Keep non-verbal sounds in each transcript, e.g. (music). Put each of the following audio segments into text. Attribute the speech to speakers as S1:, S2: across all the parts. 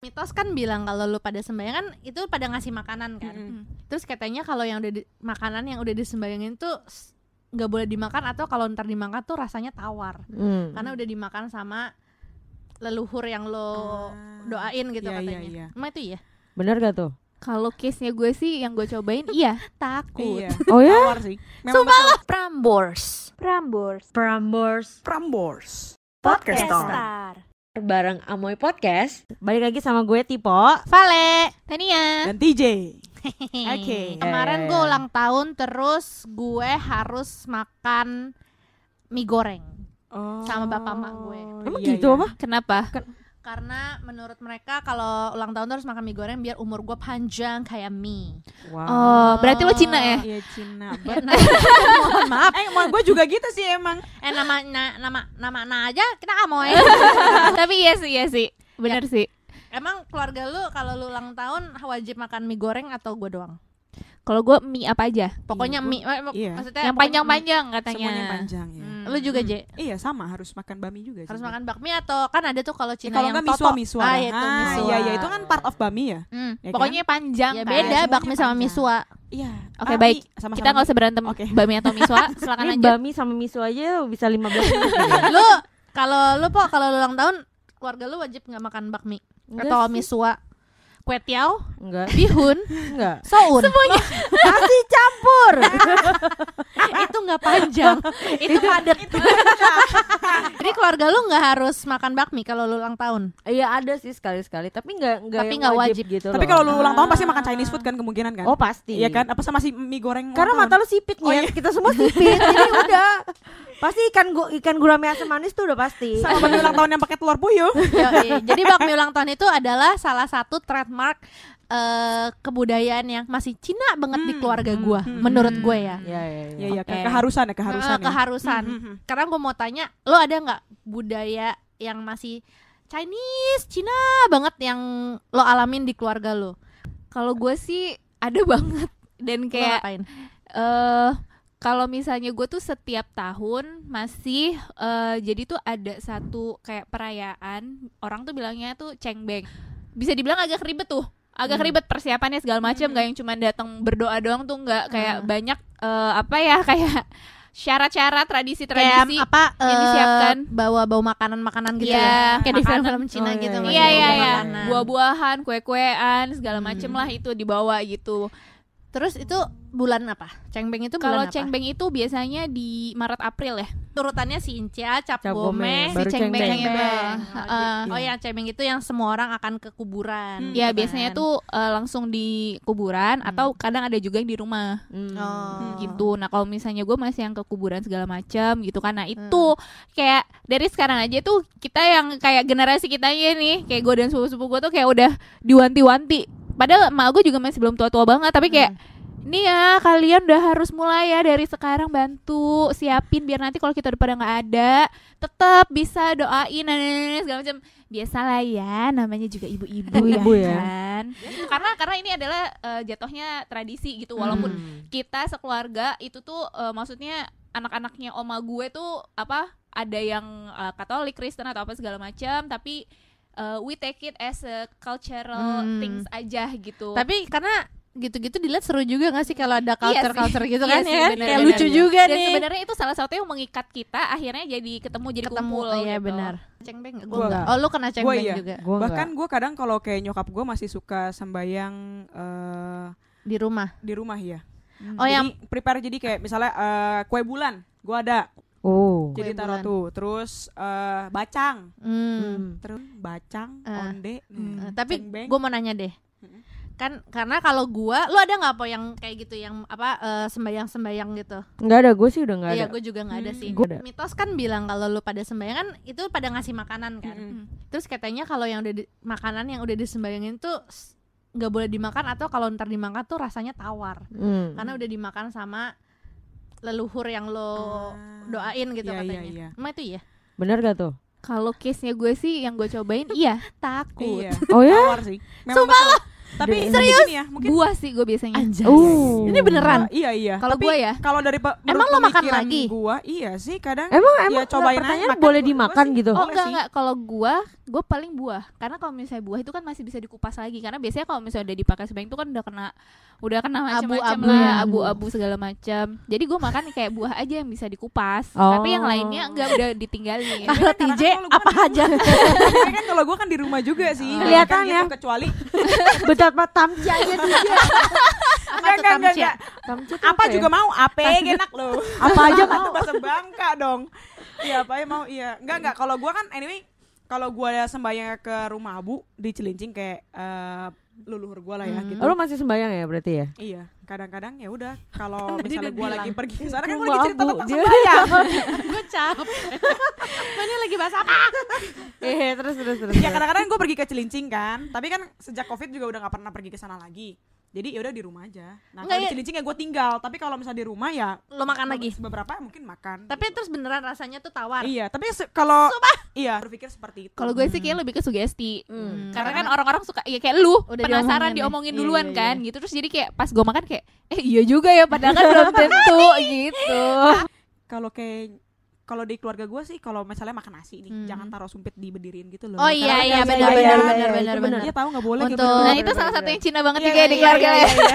S1: mitos kan bilang kalau lu pada sembahyang kan itu pada ngasih makanan kan.
S2: Mm-mm.
S1: Terus katanya kalau yang udah di, makanan yang udah disembayangin tuh s- nggak boleh dimakan atau kalau ntar dimakan tuh rasanya tawar
S3: Hmm.
S1: karena udah dimakan sama leluhur yang lo
S2: Ah.
S1: doain gitu
S2: Iya, iya,
S1: katanya.
S2: iya.
S1: Emang itu ya?
S3: Bener gak tuh?
S4: Kalau case-nya gue sih yang gue cobain iya
S1: (laughs) Takut.
S2: Iya.
S3: Oh ya?
S2: (laughs) Tawar sih. Memang Sumpah lo.
S5: Prambors.
S4: Prambors.
S5: Prambors.
S2: Prambors. Oh.
S3: Bareng Amoy Podcast. Balik lagi sama gue Tipo.
S1: Vale, Tania.
S2: Dan TJ. Oke.
S1: Oke. Kemarin gue ulang tahun terus gue harus makan mie goreng
S2: Oh.
S1: Sama bapak mak gue.
S3: Emang
S2: iya,
S3: gitu
S2: iya.
S3: apa?
S4: Kenapa?
S1: karena menurut mereka kalau ulang tahun tuh harus makan mie goreng biar umur gue panjang kayak mie.
S2: Wow.
S4: Oh, berarti lo
S1: Nah,
S4: Cina ya?
S2: Iya Cina.
S1: Ya,
S2: Bener.
S1: nah,
S2: Mohon maaf. Eh, mohon gue juga gitu sih emang.
S1: eh nama na- nama nama na aja kita
S4: (laughs)
S1: amoy.
S4: (laughs) Tapi iya sih, iya sih. Bener sih.
S1: Emang keluarga lu kalau lu ulang tahun wajib makan mie goreng atau gue doang?
S4: Kalau gue mie apa aja?
S1: Pokoknya
S2: Iya, gua-
S1: mie eh, mak-
S2: iya.
S1: maksudnya
S4: Yang
S1: pokoknya
S4: panjang-panjang katanya.
S2: Semuanya panjang ya.
S1: mie. Lu juga Je
S2: Iya sama harus makan bami juga.
S1: Hmm. harus
S2: sih.
S1: makan bakmi atau kan ada tuh kalau
S2: Eh,
S1: Cina
S2: kalau
S1: yang
S2: nggak
S1: toto.
S2: miswa miswa.
S1: Ah, iya, itu
S2: Ah,
S1: miswa.
S2: iya iya itu kan part of bami ya.
S1: Hmm.
S2: Ya kan?
S4: Pokoknya panjang
S1: Ya
S4: kan?
S1: beda
S2: semuanya
S1: bakmi sama
S2: panjang.
S1: miswa.
S2: Iya.
S4: Oke,
S2: Bami,
S4: baik.
S2: Sama-sama.
S4: Kita nggak usah berantem
S2: Oke.
S4: Bami atau miswa, silakan
S3: Ini
S4: lanjut
S3: Bami sama Miso aja bisa 15 menit. gitu.
S1: lu kalau lu po kalau lu ulang tahun keluarga lu wajib nggak makan bakmi
S3: Enggak
S1: atau
S3: sih.
S1: miswa, kue tiao,
S3: Enggak,
S1: bihun,
S3: enggak.
S1: soun.
S3: Nasi campur.
S1: (laughs) itu nggak panjang, itu padat. (laughs) Jadi keluarga lu nggak harus makan bakmi kalau lu ulang tahun.
S3: (laughs) Iya ada sih sekali-sekali, tapi enggak enggak
S1: Tapi
S3: yang
S1: nggak
S3: wajib,
S1: wajib.
S3: gitu
S2: Tapi
S3: loh.
S2: kalau lu ulang tahun pasti makan
S1: Ah.
S2: Chinese food kan kemungkinan kan?
S3: Oh, pasti.
S2: Iya kan? Apa sama si mie goreng?
S3: Karena
S2: ulang
S3: mata lu sipit
S2: Oh,
S3: ya.
S2: iya.
S3: Kita semua sipit. jadi udah. Pasti ikan gu ikan gurame asam manis tuh udah pasti.
S2: tahun? sama mie ulang tahun yang pakai telur puyuh.
S1: Yoi. Jadi bakmi ulang tahun itu adalah salah satu trademark eh, kebudayaan yang masih Cina banget di
S2: Hmm,
S1: keluarga
S2: hmm,
S1: gua,
S2: hmm,
S1: menurut
S4: hmm.
S1: gue ya.
S3: Iya, iya,
S2: Iya
S3: iya.
S2: iya kan?
S4: Oke.
S2: keharusan ya keharusan.
S1: Keharusan.
S2: ya.
S1: keharusan.
S2: Mhm, mhm.
S1: Karena gue mau tanya, lo ada nggak budaya yang masih Chinese, Cina banget yang lo alamin di keluarga lo?
S4: Kalau gue sih ada banget Dan
S1: Lo
S4: kayak
S1: ngapain?
S4: eh kalau misalnya gue tuh setiap tahun masih eh, jadi tuh ada satu kayak perayaan orang tuh bilangnya tuh cengbeng bisa dibilang agak ribet tuh agak
S1: Hmm.
S4: ribet persiapannya segala macam gak yang cuma datang berdoa doang tuh nggak kayak
S1: Ah.
S4: banyak eh, apa ya (laughs) kayak syarat-syarat tradisi-tradisi
S1: kayak apa
S4: yang
S1: eh,
S4: disiapkan.
S1: bawa bawa makanan makanan gitu
S4: Iya.
S1: ya
S4: Kayak
S1: kayak
S4: di
S1: di film-film
S4: film.
S1: Cina
S3: Oh, iya,
S1: gitu
S3: iya.
S1: masih
S4: Iya iya
S1: bawa
S4: iya,
S1: makanan.
S4: buah-buahan, kue-kuean, segala macem lah itu dibawa gitu.
S1: terus itu bulan apa cengbeng itu
S4: Kalau
S1: bulan apa?
S4: cengbeng itu biasanya di Maret April ya.
S1: turutannya si Incia cap,
S3: Cap
S1: gome
S3: Gome,
S1: si
S3: baru
S1: cengbeng,
S3: Cengbeng.
S1: Cengbeng.
S4: Cengbeng.
S1: Heeh.
S2: Iya.
S1: oh yang cengbeng itu yang semua orang akan ke kuburan
S4: Ya
S1: gitu
S4: biasanya
S1: kan. Hmm.
S4: tuh eh, langsung di kuburan atau kadang ada juga yang di rumah
S3: Hmm.
S1: oh.
S4: gitu. Nah kalau misalnya gue masih yang ke kuburan segala macam gitu kan. Nah itu
S1: Hmm.
S4: kayak dari sekarang aja tuh kita yang kayak generasi kitanya nih kayak gue dan sepupu-sepupu gue tuh kayak udah diwanti-wanti. Padahal emak gue juga masih belum tua-tua banget tapi kayak
S1: Hmm.
S4: Nih ya kalian udah harus mulai ya dari sekarang bantu siapin biar nanti kalau kita udah pada nggak ada tetap bisa doain nah, nah, nah, nah, segala macam biasalah ya namanya juga
S1: (laughs)
S4: ibu-ibu ya,
S3: Ibu-ibu ya.
S4: kan karena karena ini adalah eh, jatuhnya tradisi gitu walaupun
S1: Hmm.
S4: kita sekeluarga itu tuh eh, maksudnya anak-anaknya oma gue tuh apa ada yang eh, Katolik Kristen atau apa segala macam tapi eh, we take it as a cultural
S1: Hmm.
S4: things aja gitu
S1: tapi karena gitu-gitu dilihat seru juga gak sih kalau ada
S4: sih.
S1: culture-culture gitu
S4: Iya
S1: kan
S4: sih,
S1: ya kan?
S4: benar,
S1: kayak
S4: benar,
S1: lucu
S4: benar.
S1: juga
S4: dan
S1: nih
S4: sebenarnya itu salah satu yang mengikat kita akhirnya jadi ketemu jadi
S1: ketemu
S4: kumpul
S1: iya
S4: gitu.
S1: benar cengbeng gak?
S2: Gua
S1: gua enggak
S3: enggak.
S1: oh lu kena cengbeng
S2: iya.
S1: juga
S3: Gua
S2: Bahkan
S3: enggak.
S2: gue kadang kalau kayak nyokap gue masih suka sembayang eh,
S1: di rumah
S2: di rumah ya.
S1: oh
S2: jadi,
S1: yang
S2: prepare jadi kayak misalnya eh, kue bulan, gue ada.
S3: Oh.
S2: jadi
S1: Kue
S2: taruh
S1: bulan.
S2: tuh. Terus eh, bacang,
S1: hmm.
S2: terus bacang,
S1: Eh.
S2: onde,
S1: Eh,
S2: hmm,
S1: tapi
S2: cengbeng.
S1: gue mau nanya deh
S2: Mm-mm.
S1: kan karena kalau gua lu ada nggak po yang kayak gitu yang apa eh, sembayang-sembayang gitu
S3: Enggak ada, gue sih udah enggak ada.
S1: iya gue juga nggak ada
S2: Hmm.
S1: sih
S3: Gua ada.
S1: mitos kan bilang kalau lu pada sembayang kan itu pada ngasih makanan kan
S2: Mm-mm.
S1: terus katanya kalau yang udah di, makanan yang udah disembayangin tuh s- nggak boleh dimakan atau kalau ntar dimakan tuh rasanya tawar
S3: Hmm.
S2: Kan
S1: karena udah dimakan sama leluhur yang lo
S2: Ah.
S1: doain gitu
S2: Iya, iya,
S1: katanya
S2: iya.
S1: emang itu ya
S3: Bener gak tuh?
S4: kalau case nya gue sih yang gue cobain iya
S1: takut
S2: Iya.
S3: Oh ya?
S2: Tawar sih. Memang Sumpah Tapi
S3: Serius?
S2: serius ya, mungkin
S4: Buah sih gue biasanya.
S1: Anjay.
S3: Uh.
S1: Ini beneran.
S2: Iya iya.
S4: Kalau
S2: Tapi
S4: gua ya?
S2: Kalau dari pe- menurut
S1: Emang lo makan
S2: pemikiran
S1: lagi?
S2: Gua iya sih kadang.
S3: Emang
S2: ya
S3: emang
S2: cobain aja,
S3: pertanyaan
S2: makan
S3: boleh
S2: gua- gua
S3: dimakan
S2: sih. (laughs)
S3: gitu.
S4: Oh
S2: Boleh
S4: enggak
S2: sih.
S4: enggak kalau gua gua paling buah karena kalau misalnya buah itu kan masih bisa dikupas lagi karena biasanya kalau misalnya udah dipakai sebanyak itu kan udah kena udah kena macam-macam
S1: Abu-abu
S4: lah
S1: ya.
S4: abu-abu segala macam jadi gua makan kayak buah aja yang bisa dikupas
S3: Oh.
S4: tapi yang lainnya enggak udah
S1: (laughs) Kalau
S4: ditinggalin
S2: Karena
S1: TJ
S2: kalau ya gua
S1: apa
S2: kan-
S1: aja?
S2: Tapi kan kalau gua kan di rumah juga sih.
S4: Oh.
S3: Kelihatan
S2: Kan
S3: ya.
S2: gitu, Kecuali
S3: (laughs) Betapa tamcianya tuh dia.
S2: enggak enggak enggak, enggak.
S3: Tamci tuh
S2: Apa
S3: ya?
S2: juga mau? Ape enak loh.
S3: (laughs) apa aja
S2: (laughs)
S3: mau.
S2: Itu bahasa Bangka dong. Iya, apa yang mau? Iya. Enggak enggak kalau gua kan anyway kalau gua ada sembayang ke rumah Abu di Cilincing kayak eh, leluhur gua lah ya gitu.
S3: Oh, lu masih sembayang ya berarti ya?
S2: Iya, kadang-kadang ya udah
S1: Kan
S2: kalau
S1: tadi
S2: misalnya
S1: udah
S2: gua lagi
S1: bilang.
S2: pergi ke sana kan gua
S3: Rumah
S2: lagi cerita
S3: Abu,
S2: tentang
S3: dia-
S2: sembayang.
S3: (laughs)
S1: Gue capek. Ini lagi bahas apa?
S3: Eh terus terus terus.
S2: ya kadang-kadang gue pergi ke Cilincing kan tapi kan sejak covid juga udah nggak pernah pergi ke sana lagi jadi yaudah di rumah aja nah
S1: Nggak,
S2: kalau di
S1: ya-
S2: Cilincing ya gue tinggal tapi kalau misalnya di rumah ya
S1: Lo makan lagi.
S2: beberapa mungkin makan
S1: Tapi terus beneran rasanya tuh tawar.
S2: iya tapi se- kalau iya berpikir seperti itu
S4: kalau gue sih kayak lebih ke sugesti
S1: Hmm.
S4: karena kan orang-orang suka ya kayak lu
S1: Udah
S4: penasaran
S1: diomongin
S4: diomongin
S1: ya.
S4: duluan
S1: Iya, iya,
S4: kan gitu terus jadi kayak pas gua makan kayak eh iya juga ya
S1: (laughs)
S4: padahal kan belum tentu gitu
S2: kalau kayak kalau di keluarga gue sih kalau misalnya makan nasi nih
S1: Hmm.
S2: jangan taruh sumpit diberdiriin gitu loh
S1: Oh iya iya
S2: Karena-
S1: benar benar
S2: iya, iya,
S1: benar
S3: iya,
S1: benar
S3: itu
S1: benar.
S2: Iya tahu nggak boleh
S1: Untuk-
S2: gitu
S4: nah
S3: Bener,
S4: itu salah
S3: bener,
S4: satu
S3: bener.
S4: yang Cina banget
S2: Iya,
S4: juga ya di
S2: iya,
S4: keluarga
S2: iya,
S4: ya.
S1: (laughs) Kenapa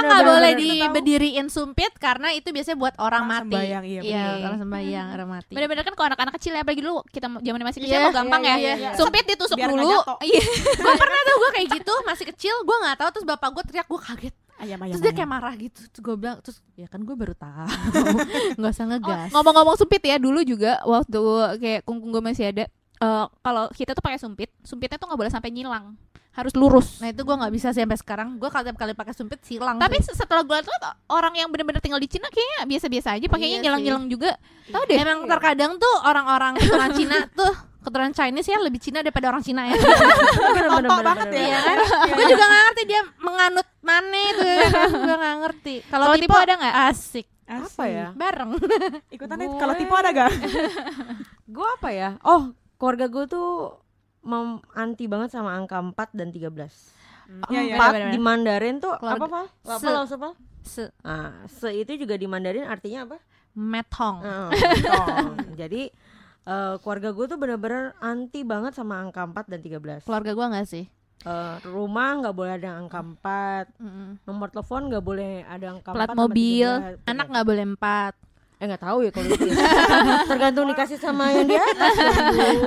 S3: Bener,
S1: nggak
S3: bener,
S1: boleh
S3: bener.
S1: diberdiriin sumpit? Karena itu biasanya buat orang
S2: Orang
S1: mati.
S2: sembayang, iya, bener.
S1: orang sembayang, orang mati.
S4: Bener-bener kan kalau anak-anak kecil ya apalagi dulu kita mau- zaman masih kecil
S1: Iya,
S4: mau gampang
S1: iya,
S4: ya.
S1: iya,
S2: iya.
S4: Sumpit ditusuk
S2: Biar nggak
S4: dulu.
S2: jatuh.
S4: Iya.
S1: gue pernah tau gue kayak gitu masih kecil gue nggak tahu terus bapak gue teriak gue kaget
S2: ayam ayam
S1: terus dia kayak marah gitu terus gue bilang terus ya kan gue baru tahu nggak usah
S4: Oh,
S1: ngegas
S4: Ngomong-ngomong sumpit ya dulu juga waktu kayak kungkung gue masih ada. eh, kalau kita tuh pakai sumpit, sumpitnya tuh nggak boleh sampai nyilang, harus lurus.
S1: nah itu gue nggak bisa sih sampai sekarang gue kalau tiap kali pakai sumpit silang
S4: Tapi se- setelah gue liat orang yang bener-bener tinggal di Cina kayaknya biasa-biasa aja,
S1: Iya
S4: pakainya
S1: sih.
S4: nyilang-nyilang juga. Tahu
S1: tuh.
S4: deh.
S1: emang terkadang tuh orang-orang keturunan Cina tuh keturunan Chinese ya lebih Cina daripada orang Cina ya
S2: Toto banget ya
S1: iya kan gue juga nggak ngerti dia menganut mana itu ya kan gue nggak ngerti kalau
S4: Kalau
S1: tipe
S4: Tipo ada nggak?
S1: asik
S3: Apa ya?
S1: bareng
S2: ikutan
S3: Gue-
S2: kalau tipe ada gak
S3: Gue apa ya? Oh, keluarga gue tuh mem anti banget sama angka 4 dan 13.
S2: Iya, iya.
S1: Empat.
S3: 4 di Mandarin tuh
S1: Keluarga-
S3: apa, Pak? Apa
S1: Se-
S3: lo apa?
S1: Se-
S3: Ah, se itu juga di Mandarin artinya apa?
S4: Oh.
S1: metong
S4: (laughs)
S3: Heeh, tong. Jadi eh, keluarga gue tuh bener-bener anti banget sama angka 4 dan 13
S1: keluarga gue nggak sih
S3: Eh, Rumah nggak boleh ada angka 4
S1: Mm-mm.
S3: Nomor telepon nggak boleh ada angka
S4: Plat
S3: 4 sama
S4: mobil,
S3: 13.
S1: anak nggak boleh empat
S3: Eh nggak tahu ya kalau itu
S4: (laughs)
S3: ya. Tergantung dikasih sama yang di atas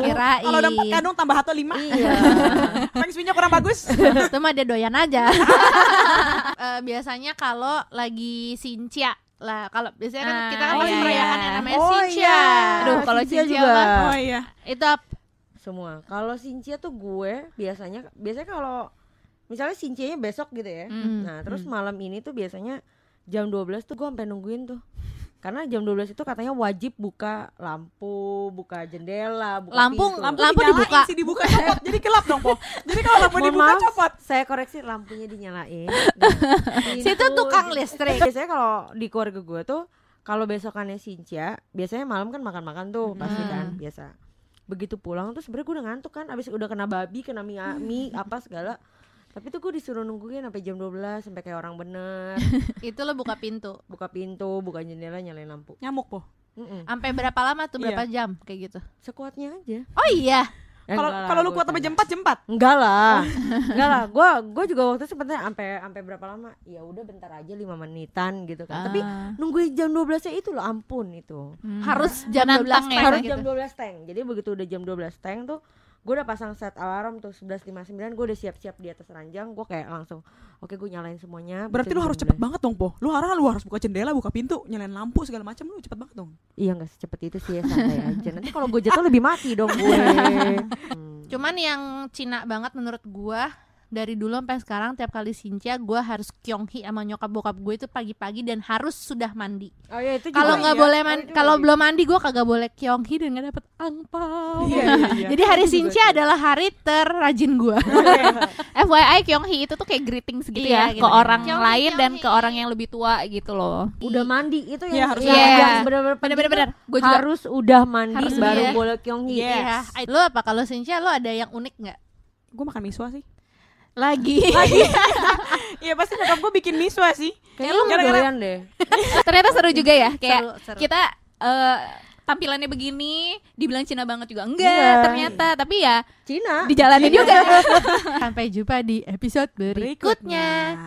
S1: kirain
S2: kalau udah empat
S1: kan
S2: kandung tambah atau lima
S3: Iya
S2: Feng Shui-nya kurang bagus
S1: (laughs) itu mah dia doyan aja (laughs) Eh, biasanya kalau lagi sincia lah kalau biasanya kan
S4: Ah,
S1: kita kan pasti
S4: iya,
S1: merayakan
S4: iya.
S1: yang namanya
S3: Oh,
S1: sincia
S3: iya.
S1: aduh
S4: Aduh, kalau
S3: Sincia
S4: cincin
S3: juga.
S4: juga.
S2: oh iya
S1: itu ap-
S3: Semua Kalau Sincia tuh gue biasanya Biasanya kalau Misalnya Sincianya besok gitu ya
S1: Mm.
S3: Nah terus malam ini tuh biasanya Jam 12 tuh gue sampai nungguin tuh karena jam 12 itu katanya wajib buka lampu, buka jendela, buka
S1: Lampu-
S3: pintu.
S1: lampu- dibuka.
S2: sih dibuka copot jadi gelap dong po jadi kalau lampu
S3: Mohon
S2: dibuka
S3: maaf,
S2: copot
S3: Saya koreksi lampunya dinyalain.
S1: (laughs) situ tukang listrik
S3: Biasanya kalau di keluarga gue tuh kalau besokannya Sincia, biasanya malam kan
S1: Hmm.
S3: makan-makan tuh pasti kan biasa. Begitu pulang tuh sebenarnya gue udah ngantuk kan, abis udah kena babi, kena mie, mie
S1: (laughs)
S3: apa segala. Tapi tuh gue disuruh nungguin sampai jam 12 sampai kayak orang bener,
S1: itu lo buka pintu
S3: buka pintu, buka jendela, nyalain lampu.
S2: nyamuk po
S3: Mm-mm.
S1: sampai berapa lama tuh berapa jam kayak gitu
S3: Sekuatnya aja.
S1: oh iya
S3: Eh,
S2: kalau
S3: enggak lah,
S2: kalau lu
S3: gue
S2: kuat sampai
S3: canda.
S2: jam 4 jam 4
S3: Enggak
S1: Oh.
S3: lah. Enggak lah. Gua gua juga waktu itu sebenarnya sampai sampai berapa lama? Ya udah bentar aja 5 menitan gitu
S4: Ah.
S3: kan.
S1: Ah.
S3: Tapi nungguin jam 12-nya itu loh ampun itu.
S4: Hmm. (laughs)
S1: harus jam
S4: Menantang
S1: 12 teng
S4: ya.
S3: Hmm. Harus
S1: gitu.
S3: jam 12 teng. Jadi begitu udah jam 12 teng tuh gue udah pasang set alarm tuh 11.59 gue udah siap-siap di atas ranjang gue kayak langsung oke gue nyalain semuanya
S2: berarti lu harus cepet banget dong po lu harus lu harus buka jendela buka pintu nyalain lampu segala macam lu cepet banget dong
S3: iya nggak secepet itu sih ya santai aja nanti kalau gue jatuh lebih mati dong
S2: (laughs)
S3: gue Hmm.
S1: cuman yang Cina banget menurut gua dari dulu sampai sekarang tiap kali sincia gua harus kyonghi sama nyokap bokap gue itu pagi-pagi dan harus sudah mandi
S3: oh ya itu juga
S1: kalau nggak
S3: iya.
S1: boleh
S3: Oh,
S1: mandi
S3: itu
S1: kalau
S3: wajib.
S1: belum mandi gue kagak boleh kyonghi dan nggak dapet angpau
S3: Oh,
S2: Iya, iya, iya.
S1: jadi hari
S3: Itu juga
S1: sinci
S3: sih.
S1: adalah hari terrajin gue
S4: FYI Kyonghee itu tuh kayak greetings gitu
S1: Iya,
S4: ya
S1: gitu.
S4: ke orang
S1: Kyonghee,
S4: lain dan ke
S1: Kyonghee.
S4: orang yang lebih tua gitu loh.
S3: udah mandi itu ya?
S2: Iya,
S3: yang
S2: harus
S3: yang-
S4: mandi.
S3: yang bener-bener penting
S4: Bener-bener bener.
S3: tuh
S4: Gue juga
S3: harus udah mandi
S1: Harus
S3: baru
S1: mandi.
S3: boleh kyonghi
S2: Yes.
S3: (laughs)
S1: iya lo apa kalau sinci lo ada yang unik nggak
S2: gue makan miswa sih
S1: lagi
S2: Iya pasti nyokap gue bikin miswa sih.
S3: Kayaknya lu
S2: Gara-gara-
S3: doyan deh.
S4: (laughs) ternyata seru juga ya kayak
S1: Seru, seru.
S4: kita eh, tampilannya begini dibilang Cina banget juga enggak
S3: Iya.
S4: ternyata tapi ya
S3: Cina.
S4: dijalani juga ya.
S1: sampai jumpa di episode berikutnya.